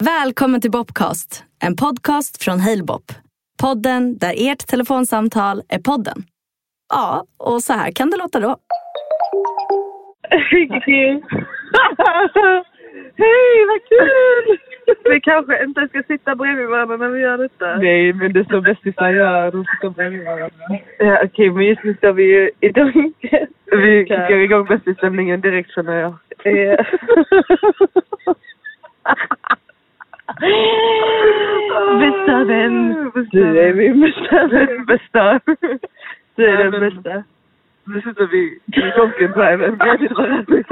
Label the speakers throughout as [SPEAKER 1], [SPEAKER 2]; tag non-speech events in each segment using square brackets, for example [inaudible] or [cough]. [SPEAKER 1] Välkommen till Bobcast, en podcast från Halebop. Podden där ert telefonsamtal är podden. Ja, och så här kan det låta då.
[SPEAKER 2] Gud. Hej, vad kul! Vi kanske inte ska sitta bredvid varandra när vi gör detta.
[SPEAKER 3] Nej, men det är så bästisar gör. De sitter bredvid varandra.
[SPEAKER 2] Ja, Okej, men just nu står vi ju i dunken.
[SPEAKER 3] Vi kickar igång bästisstämningen direkt känner jag.
[SPEAKER 2] Ja. [laughs] Bästa vän. Du är min bästa vän.
[SPEAKER 3] bästa.
[SPEAKER 2] Du
[SPEAKER 3] Ja,
[SPEAKER 2] är den
[SPEAKER 3] men-
[SPEAKER 2] bästa.
[SPEAKER 3] Nu sitter vi i donken bredvid bredvid varandra.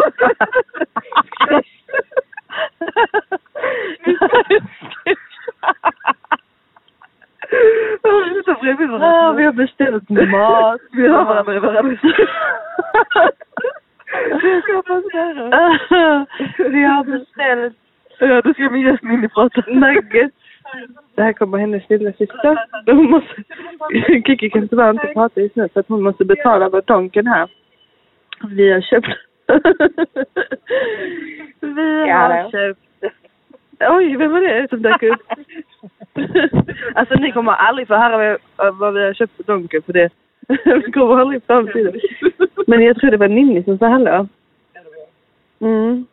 [SPEAKER 3] Vi sitter bredvid
[SPEAKER 2] Ah, vi
[SPEAKER 3] varandra.
[SPEAKER 2] har beställt mat.
[SPEAKER 3] Vi har varandra i varandras Det ska man göra.
[SPEAKER 2] vi har beställt
[SPEAKER 3] Ja, då ska min gäst in i prata.
[SPEAKER 2] nuggets. Det här kommer hennes lilla syster. Hon måste... Kiki kan tyvärr inte prata just nu för att hon måste betala för donken här. Vi har köpt... Vi har köpt... Oj, vem var det som dök upp? Alltså ni kommer aldrig få höra vad, vad vi har köpt på donken för det vi kommer aldrig fram till det. Men jag tror det var Ninni som sa hallå. Mm.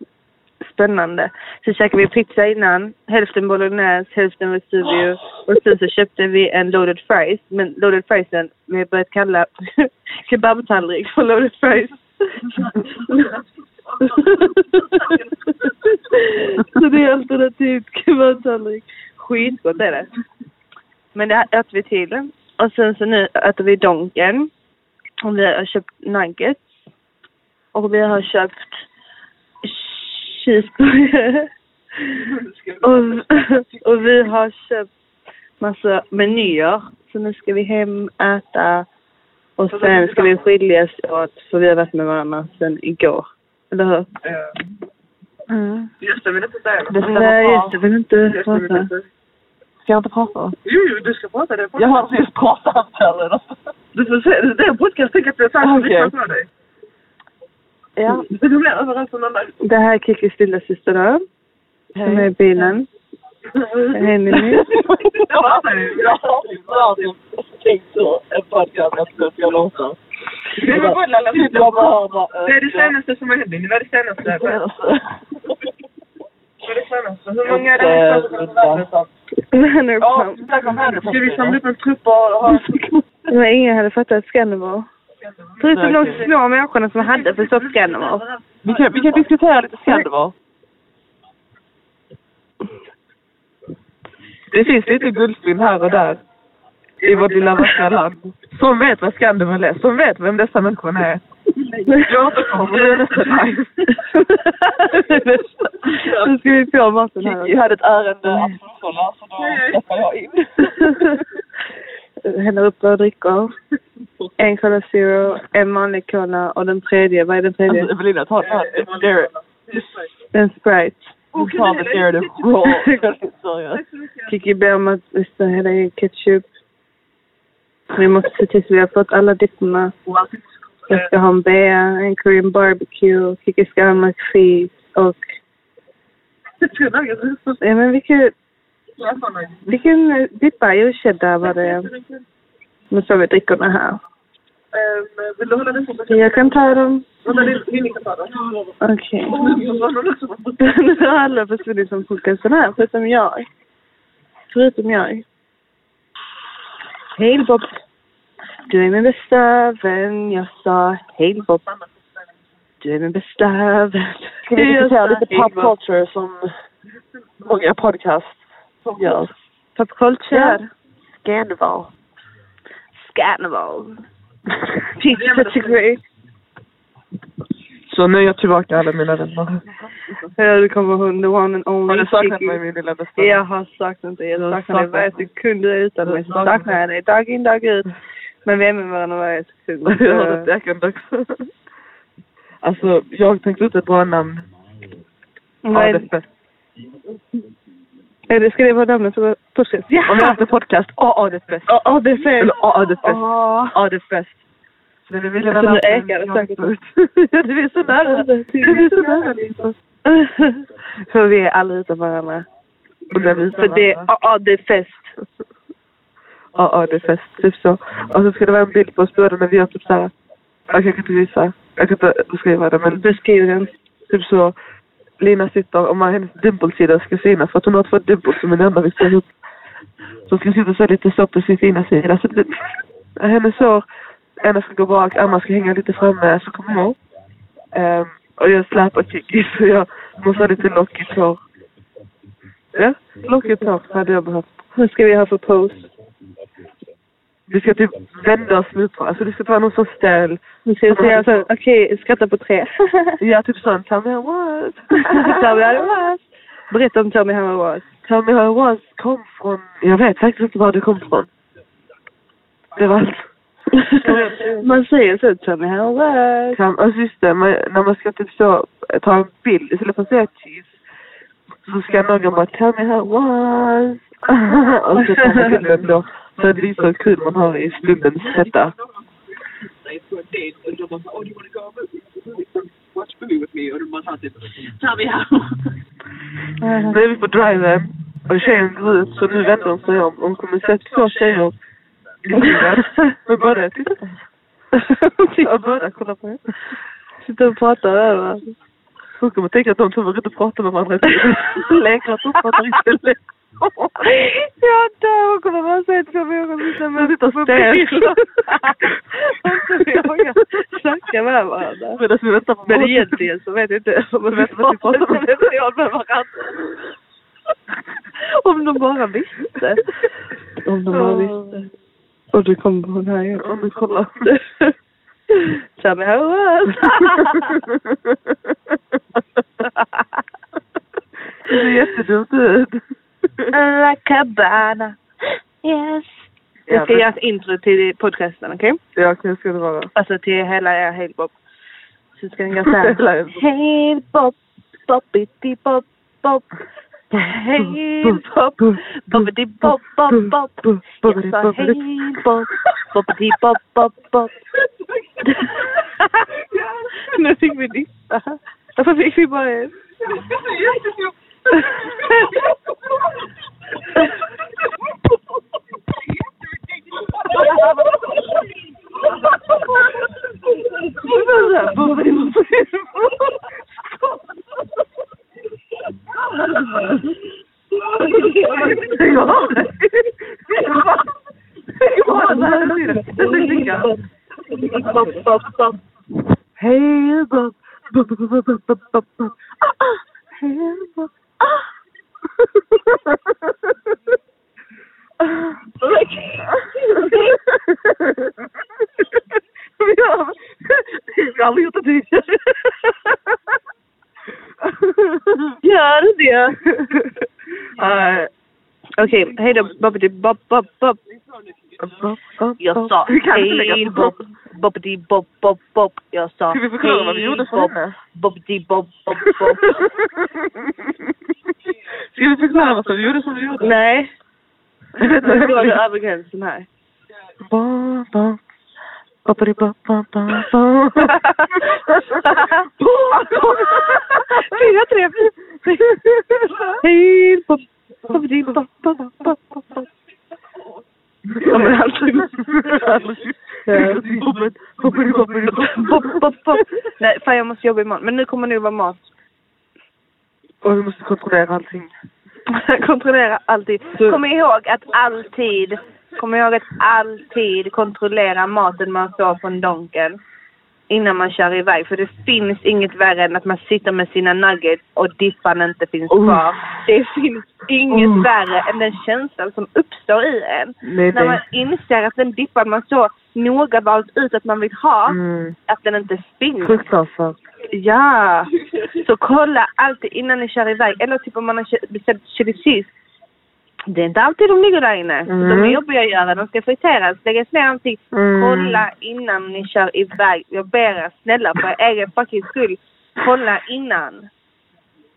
[SPEAKER 2] Spännande. Så käkade vi pizza innan. Hälften bolognese, hälften vesuvio. Och sen så köpte vi en loaded fries. Men loaded friesen, vi har börjat kalla [laughs] kebabtallrik för loaded fries. [laughs] så det är alternativt kebabtallrik. Skitgott är det. Men det här åt vi till. Och sen så nu äter vi Donken. Och vi har köpt nuggets. Och vi har köpt
[SPEAKER 3] [laughs]
[SPEAKER 2] cheeseburgare. Och, och vi [laughs] har köpt massa menyer. Så nu ska vi hem, äta och sen ska vi skiljas åt för vi har varit med varandra sen igår. Eller hur? Mm.
[SPEAKER 3] Just det, vill inte säga
[SPEAKER 2] Nej, just det. Vill inte
[SPEAKER 3] Just det, vill
[SPEAKER 2] prata.
[SPEAKER 3] inte.
[SPEAKER 4] Ska jag inte prata?
[SPEAKER 3] Jo, jo, du ska prata. Det är
[SPEAKER 4] Jag har precis pratat här
[SPEAKER 3] Du får se, det är en podcast. Tänk att vi har sagt att vi
[SPEAKER 4] Okej.
[SPEAKER 3] kan ta dig.
[SPEAKER 2] Ja.
[SPEAKER 3] Du blir överallt som någon annan.
[SPEAKER 2] Det här är Kikis lilla syster då, som är i bilen. Hej Ninni. [laughs]
[SPEAKER 3] Jag hatar dig.
[SPEAKER 4] Jag har aldrig tänkt så en podcast att det ska långsamt.
[SPEAKER 3] Det är väl bara lalla.
[SPEAKER 4] Jag behöver...
[SPEAKER 3] Det är det senaste som har hänt. Det är det senaste. Det
[SPEAKER 4] eh,
[SPEAKER 3] är det senaste. Hur många är
[SPEAKER 4] Eh,
[SPEAKER 3] det senaste?
[SPEAKER 2] Manor
[SPEAKER 3] Ja,
[SPEAKER 2] pump.
[SPEAKER 3] ska vi samla upp en trupp och ha...
[SPEAKER 2] Men ingen hade fattat Scandimore. Förutom de små människorna som hade förstått Scandimore.
[SPEAKER 4] Vi kan, vi kan diskutera lite Skandivar. Det finns lite guldspinn här och där i vårt lilla vackra land.
[SPEAKER 3] Som vet vad Skandival är. Som vet vem dessa människor är. Jag återkommer. Det är nästa live.
[SPEAKER 2] Nu ska vi på maten här.
[SPEAKER 4] Kiki hade ett ärende att fullfölja så då släpper jag in.
[SPEAKER 2] [laughs] Häller upp våra drycker. En Cola Zero, en vanlig Cola och den tredje, vad är den
[SPEAKER 4] Alltså
[SPEAKER 2] tredje?
[SPEAKER 4] Evelina, ta den här. Garrett.
[SPEAKER 2] En Sprite.
[SPEAKER 4] Du sa med Garrett and Raw. Seriöst.
[SPEAKER 2] Kiki ber om att vi ska hälla i ketchup. Vi måste se till så vi har fått alla dipporna. Jag ska ha en bea, en korean barbecue, Kiki ska ha en McFeast och... Ja, men vilken, vilken dippa? Jo, cheddar var det. Nu står vi och dricker den här.
[SPEAKER 3] Vill du hålla den på?
[SPEAKER 2] Jag kan ta dem.
[SPEAKER 3] Hålla din linje på den.
[SPEAKER 2] Okej. [laughs]
[SPEAKER 3] Åh,
[SPEAKER 2] Nu har alla försvunnit från podcasten här, förutom jag. Förutom jag. Hej Bob. Du är min bästa vän. Jag sa hej Bob. Du är min bästa vän.
[SPEAKER 4] Ska vi diskutera
[SPEAKER 2] Jag sa,
[SPEAKER 4] lite
[SPEAKER 2] "Hej,
[SPEAKER 4] pop
[SPEAKER 2] Bob."
[SPEAKER 4] culture som många podcasts som görs?
[SPEAKER 2] Pop culture.
[SPEAKER 4] Scandival.
[SPEAKER 2] Scannable. [laughs] Teacher category.
[SPEAKER 3] Så nu är jag tillbaka alla mina vänner.
[SPEAKER 2] Ja, det kommer hon. The one and only.
[SPEAKER 3] Har du saknat
[SPEAKER 2] Kiki.
[SPEAKER 3] mig min lilla bästa?
[SPEAKER 2] Jag har saknat dig. Jag saknar dig
[SPEAKER 3] saknat
[SPEAKER 2] varje
[SPEAKER 3] mig.
[SPEAKER 2] sekund du är utan
[SPEAKER 3] Du
[SPEAKER 2] mig. Så
[SPEAKER 3] saknar mig.
[SPEAKER 2] saknar jag dig dag in, dag ut. Men vi är med varandra varje
[SPEAKER 3] [laughs]
[SPEAKER 2] sekund. [laughs]
[SPEAKER 3] Jag har ett äckande också. [laughs] Alltså, jag tänkte ut ett bra namn.
[SPEAKER 2] Vad
[SPEAKER 3] Ja,
[SPEAKER 2] är-
[SPEAKER 3] det är bäst.
[SPEAKER 2] Är det, ska det vara namnet på podcasten? Ja!
[SPEAKER 3] Om jag haft en podcast, AA det är bäst.
[SPEAKER 2] Ja, ja, det är fel.
[SPEAKER 3] Eller AA det är bäst.
[SPEAKER 2] [laughs] Åh.
[SPEAKER 3] AA det är bäst. Så det vill jag
[SPEAKER 2] Alltså, nu
[SPEAKER 3] att-
[SPEAKER 2] ekar det säkert.
[SPEAKER 3] Ja, Du är så nära.
[SPEAKER 2] [laughs] Du är så nära, Lisa. För vi är alla utan varandra.
[SPEAKER 4] Och där visar
[SPEAKER 2] För det, ja, ja, det är fest.
[SPEAKER 4] Ja, ja, det är fest. Typ så. Och så ska det vara en bild på oss båda när vi gör typ så här. Okej, jag kan inte visa. Jag kan inte beskriva det, men
[SPEAKER 2] Beskriv den.
[SPEAKER 4] typ så. Lina sitter och man, hennes dimpelsida ska synas för att hon har två dimples som är enda vi ser ut. Så hon ska sitta så här lite så på sin fina sida. Så typ, hennes hår, ena ska gå bak, andra ska hänga lite framme, så kommer jag.
[SPEAKER 3] Ehm,
[SPEAKER 4] Um, och jag släpar
[SPEAKER 3] [laughs]
[SPEAKER 4] chickis så jag måste ha lite lockigt hår. Ja, lockigt hår hade jag behövt.
[SPEAKER 2] Vad ska vi ha för pose?
[SPEAKER 4] Vi ska typ vända oss mot varandra. Alltså det ska vara någon sån ställ.
[SPEAKER 2] Vi ska säga så, okej, skratta på tre. [laughs]
[SPEAKER 4] Ja, typ sån. Tell me how it was.
[SPEAKER 2] Tell me how it was. Berätta om Tell me how it was. [laughs]
[SPEAKER 4] Tell me how it was kom från... Jag vet faktiskt inte var det kom från. Det var allt.
[SPEAKER 2] Man säger så, Tell me how it was.
[SPEAKER 4] Kan- Alltså just det, man, när man ska typ så ta en bild istället för att säga cheese. Så ska någon bara tell me how it was. [laughs] Och så tar man bilden då. Så det är så kul man har i stundens hetta.
[SPEAKER 5] to a date and de bara oh do you want to go over watch a movie with me? Och de bara sa typ tell me how.
[SPEAKER 4] Nu är vi på driven och tjejen går ut så nu vänder hon sig om. Hon kommer se två tjejer i bilen. Men båda tittar. Och båda kollar på henne.
[SPEAKER 2] Sitter och pratar över varandra.
[SPEAKER 4] Hon kommer tänka att de två var ute och pratade med varandra. Leker att de pratar istället.
[SPEAKER 2] Jag dör, hon kommer bara säga två människor sitta
[SPEAKER 4] Men sitter och
[SPEAKER 2] mobiler.
[SPEAKER 4] stel.
[SPEAKER 2] och vågar snacka med varandra.
[SPEAKER 4] Medan vi väntar på
[SPEAKER 2] Men
[SPEAKER 4] båten.
[SPEAKER 2] egentligen så vet jag inte om [laughs] de
[SPEAKER 4] vet vad vi pratar om.
[SPEAKER 2] med varandra. Om de bara visste. Om de bara visste. Och du kom på den här igen.
[SPEAKER 4] Och nu kollar
[SPEAKER 2] Tell me how it [laughs]
[SPEAKER 4] Det ser jättedumt ut.
[SPEAKER 2] La cabana. Yes. Jag ska
[SPEAKER 4] Ja,
[SPEAKER 2] göra ett intro till podcasten, okej?
[SPEAKER 4] det- Ja, okej, ska det vara.
[SPEAKER 2] Alltså till hela er helbop. Så ska den [laughs] gå såhär.
[SPEAKER 4] Hela er-
[SPEAKER 2] Helbop, boppity bop, bop. Helbop, boppity bop, bop, bop. Jag sa helbop, boppity bop, bop, bop. [laughs] Nu fick vi dissa. Varför fick vi bara en?
[SPEAKER 4] Stäng av dig! Stäng av dig hela tiden! Det är så klicka. Hej Bob! Bob, Bob, Bob, Bob, Bob, Bob, Bob. Ah, ah. Hej Bob! Ah. Ah. Vi har- Vi har aldrig gjort det tidigare.
[SPEAKER 2] Gör det!
[SPEAKER 4] [laughs] Nej.
[SPEAKER 2] Okej, hejdå boppity bop, bop, bop.
[SPEAKER 4] Bob, Bob,
[SPEAKER 2] Jag
[SPEAKER 4] Bob. [laughs]
[SPEAKER 2] sa
[SPEAKER 4] Vi kan inte lägga
[SPEAKER 2] hej
[SPEAKER 4] på
[SPEAKER 2] bop, boppity bop, bop, bop. Jag sa
[SPEAKER 4] Ska vi förklara vad vi
[SPEAKER 2] hej
[SPEAKER 4] gjorde för
[SPEAKER 2] bop,
[SPEAKER 4] henne?
[SPEAKER 2] boppity bop, bop,
[SPEAKER 4] [laughs]
[SPEAKER 2] bop.
[SPEAKER 4] Ska vi förklara vad som gjorde som
[SPEAKER 2] [laughs]
[SPEAKER 4] vi gjorde?
[SPEAKER 2] Nej,
[SPEAKER 4] Jag vet
[SPEAKER 2] nu går du
[SPEAKER 4] [laughs] inte.
[SPEAKER 2] över gränsen här.
[SPEAKER 4] Ba, ba. Bappadi, ba, ba, ba, ba.
[SPEAKER 2] Fyra, tre, fyra. Hej bop, boppity bop, bop, bop, bop, bop.
[SPEAKER 4] Ja, men alltså. Bobbed, bobbedi, bobbedi,
[SPEAKER 2] Bop,
[SPEAKER 4] bob.
[SPEAKER 2] bop, bop. Nej, fan jag måste jobba imorgon. Men nu kommer det ju vara mat.
[SPEAKER 4] Och vi måste kontrollera allting.
[SPEAKER 2] [laughs] kontrollera alltid. Kom ihåg att alltid, kom ihåg att alltid kontrollera maten man får från Donken innan man kör iväg. För det finns inget värre än att man sitter med sina nuggets och dippen inte finns
[SPEAKER 4] Oh.
[SPEAKER 2] kvar. Det finns inget
[SPEAKER 4] Oh.
[SPEAKER 2] värre än den känslan som uppstår i en.
[SPEAKER 4] Nej,
[SPEAKER 2] När man
[SPEAKER 4] nej.
[SPEAKER 2] inser att den dippen man så noga valt ut att man vill ha,
[SPEAKER 4] Mm.
[SPEAKER 2] att den inte finns.
[SPEAKER 4] Fruktansvärt.
[SPEAKER 2] Ja, så kolla alltid innan ni kör iväg. Eller typ om man har kö- beställt chili cheese. Det är inte alltid de ligger där inne.
[SPEAKER 4] Mm.
[SPEAKER 2] De är jobbiga att göra. De ska friteras, läggas ner någonting.
[SPEAKER 4] Mm.
[SPEAKER 2] Kolla innan ni kör iväg. Jag ber er snälla för er egen fucking skull. Kolla innan.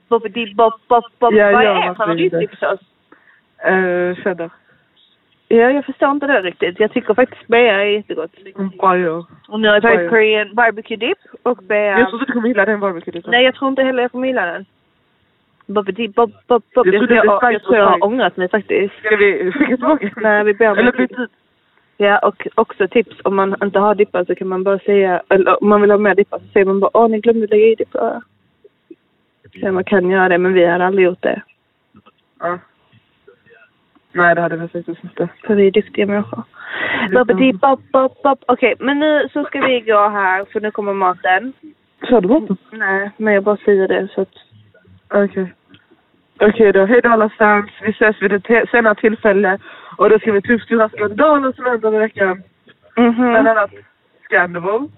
[SPEAKER 2] Boppidi bop bop bop.
[SPEAKER 4] Ja,
[SPEAKER 2] Vad är
[SPEAKER 4] jag har
[SPEAKER 2] er
[SPEAKER 4] skrivit det.
[SPEAKER 2] favoritchipssås?
[SPEAKER 4] Eh, Cheddar.
[SPEAKER 2] Ja, jag förstår inte det riktigt. Jag tycker faktiskt bea är jättegott.
[SPEAKER 4] Bra gör.
[SPEAKER 2] Och nu har jag tagit
[SPEAKER 4] Oj.
[SPEAKER 2] korean barbecue dip och bea.
[SPEAKER 4] Jag trodde du kommer gilla den barbecue.
[SPEAKER 2] Nej, jag tror inte heller jag kommer gilla den. Bobbidi, bob, bob, bob.
[SPEAKER 4] Jag
[SPEAKER 2] Jag,
[SPEAKER 4] trodde
[SPEAKER 2] jag,
[SPEAKER 4] det var
[SPEAKER 2] jag, jag tror jag
[SPEAKER 4] Spice
[SPEAKER 2] har ångrat mig faktiskt.
[SPEAKER 4] Ska vi skicka tillbaka?
[SPEAKER 2] Nej, vi ber om
[SPEAKER 4] Eller typ
[SPEAKER 2] ursäkt.
[SPEAKER 4] byt ut?
[SPEAKER 2] Ja, och också tips. Om man inte har dippar så kan man bara säga, eller om man vill ha mer dippar så säger man bara åh, ni glömde lägga i dippar. Ja, man kan göra det, men vi har aldrig gjort det.
[SPEAKER 4] Ja. Nej, det hade vi faktiskt inte.
[SPEAKER 2] För vi är duktiga människor. Bobbidi, bob, bob, bob. Okej, men nu så ska vi gå här för nu kommer maten.
[SPEAKER 4] Kör du båten?
[SPEAKER 2] Nej, men jag bara säger det så att...
[SPEAKER 4] Okej. Okej då, hej då allesammans. Vi ses vid ett te- senare tillfälle. Och då ska vi ta upp stora skandaler som händer i veckan. Bland
[SPEAKER 2] Mhm.
[SPEAKER 4] annat Scandal,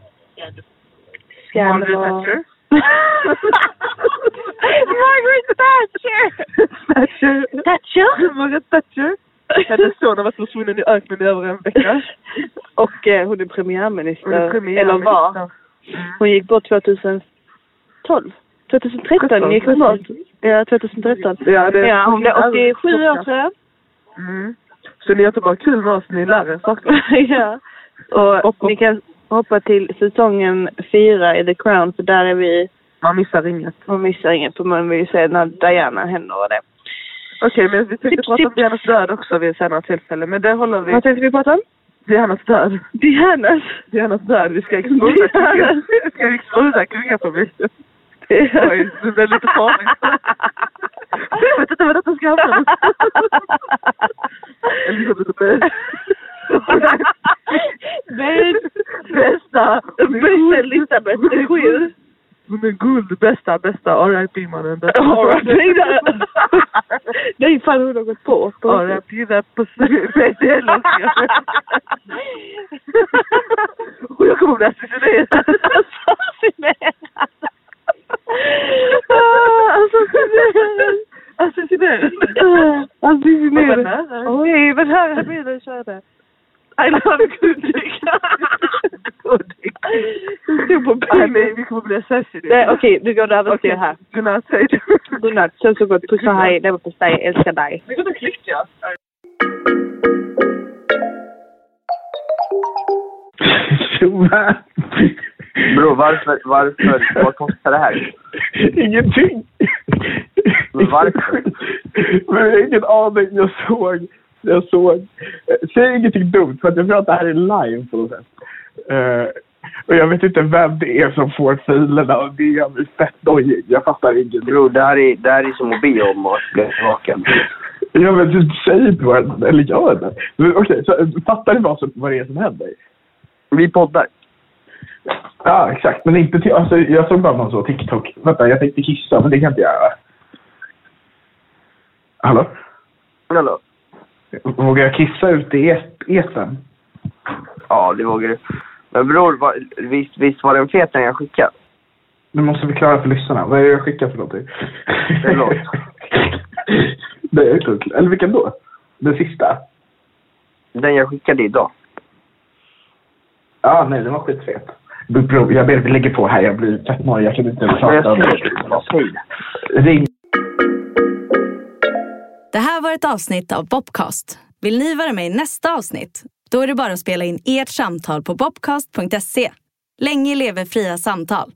[SPEAKER 4] Margaret Thatcher.
[SPEAKER 2] Margaret Thatcher!
[SPEAKER 4] Thatcher.
[SPEAKER 2] Thatcher?
[SPEAKER 4] Margaret [laughs] Thatcher. Hennes son har varit försvunnen i öknen i över en vecka.
[SPEAKER 2] Och eh, hon är premiärminister.
[SPEAKER 4] Hon är premiär-
[SPEAKER 2] Eller var. Hon gick bort 2012. 2013 gick hon bort. Ja, 2013.
[SPEAKER 4] Ja, det
[SPEAKER 2] Ja, hon blev 87 år tror jag.
[SPEAKER 4] Mm. Så ni har inte bara kul med oss, ni lär er saker.
[SPEAKER 2] [laughs] ja. Och
[SPEAKER 4] Hopp, hopp.
[SPEAKER 2] ni kan hoppa till säsongen fyra i The Crown för där är vi,
[SPEAKER 4] Man missar inget.
[SPEAKER 2] man missar inget för man vill ju se när Diana händer och det.
[SPEAKER 4] Okej, men vi tänkte
[SPEAKER 2] [laughs] Tips,
[SPEAKER 4] prata om
[SPEAKER 2] tips.
[SPEAKER 4] Dianas död också vid ett senare tillfälle. Men det håller vi.
[SPEAKER 2] Vad tänkte vi prata om?
[SPEAKER 4] Dianas död.
[SPEAKER 2] Dianas.
[SPEAKER 4] Dianas död. Vi ska exposa kunga- vi ska exposa kungapubliken. Oj, det blev lite farligt. Jag vet inte vad detta ska hamna. Elisabeth Bess.
[SPEAKER 2] Bäst.
[SPEAKER 4] Bästa.
[SPEAKER 2] Bästa Elisabeth är sju.
[SPEAKER 4] Hon är guld. Bästa, bästa. R.I.P. mannen.
[SPEAKER 2] R.I.P.
[SPEAKER 4] [laughs]
[SPEAKER 2] Nej, fan hon har gått på. på [laughs]
[SPEAKER 4] R.I.P. that pussy. Nej, det är lösningar. Och jag kommer att bli
[SPEAKER 2] [laughs]
[SPEAKER 4] assassinerad.
[SPEAKER 2] Fascinerad. Ah, Alltså, fascinerad. Alltså,
[SPEAKER 4] Assassinerad.
[SPEAKER 2] Ah, Alltså,
[SPEAKER 4] Vad var
[SPEAKER 2] fascinerad.
[SPEAKER 4] det?
[SPEAKER 2] Oj, vad nära bilen körde. I love Kudik.
[SPEAKER 4] Kudik.
[SPEAKER 2] Du stod på
[SPEAKER 4] Nej,
[SPEAKER 2] bilen.
[SPEAKER 4] nej, vi kommer bli assassinerade.
[SPEAKER 2] Nej, Okej, nu går det över till det här.
[SPEAKER 4] Godnatt, hej då.
[SPEAKER 2] Godnatt, sov så gott, puss och hej, leverpastej, älskar dig.
[SPEAKER 5] Vi kunde klicka.
[SPEAKER 6] Tjomma!
[SPEAKER 7] Bro, varför, varför, vad kostar det här?
[SPEAKER 6] Ingenting!
[SPEAKER 7] Men varför?
[SPEAKER 6] Men jag har ingen aning. Jag såg... Jag såg... Säg ingenting dumt, för att jag tror att det här är live på något sätt. Eh, och jag vet inte vem det är som får filerna och det gör mig fett nojig. Jag fattar ingenting.
[SPEAKER 7] Bro, det här är, det här är som att be om att bli vaken.
[SPEAKER 6] Jag vet inte, säg inte vad det Eller gör det. Men Okej, så fattar ni vad, som, vad det är som händer?
[SPEAKER 7] Vi poddar.
[SPEAKER 6] Ja, exakt. Men inte till... Alltså, jag såg bara någon så TikTok. Vänta, jag tänkte kissa, men det kan jag inte göra. Hallå?
[SPEAKER 7] Hallå?
[SPEAKER 6] Vågar jag kissa ut i et- etern?
[SPEAKER 7] Ja, det vågar du. Men bror, va, visst, visst var den fet den jag skickade?
[SPEAKER 6] Nu måste vi klara för lyssnarna. Vad är det jag skickar för någonting?
[SPEAKER 7] Förlåt.
[SPEAKER 6] [laughs] Det är klart. Eller vilken då? Den sista?
[SPEAKER 7] Den jag skickade idag.
[SPEAKER 6] ah, nej, den var skitfet. Bro, jag ber, vi lägger på här. Jag blir fett nojig. Jag kan inte
[SPEAKER 7] Men
[SPEAKER 6] prata
[SPEAKER 7] jag
[SPEAKER 6] om
[SPEAKER 7] säger det. Jag
[SPEAKER 6] det.
[SPEAKER 7] säger det.
[SPEAKER 6] Ring.
[SPEAKER 1] Det här var ett avsnitt av Bobcast. Vill ni vara med i nästa avsnitt? Då är det bara att spela in ert samtal på bobcast.se. Länge leve fria samtal!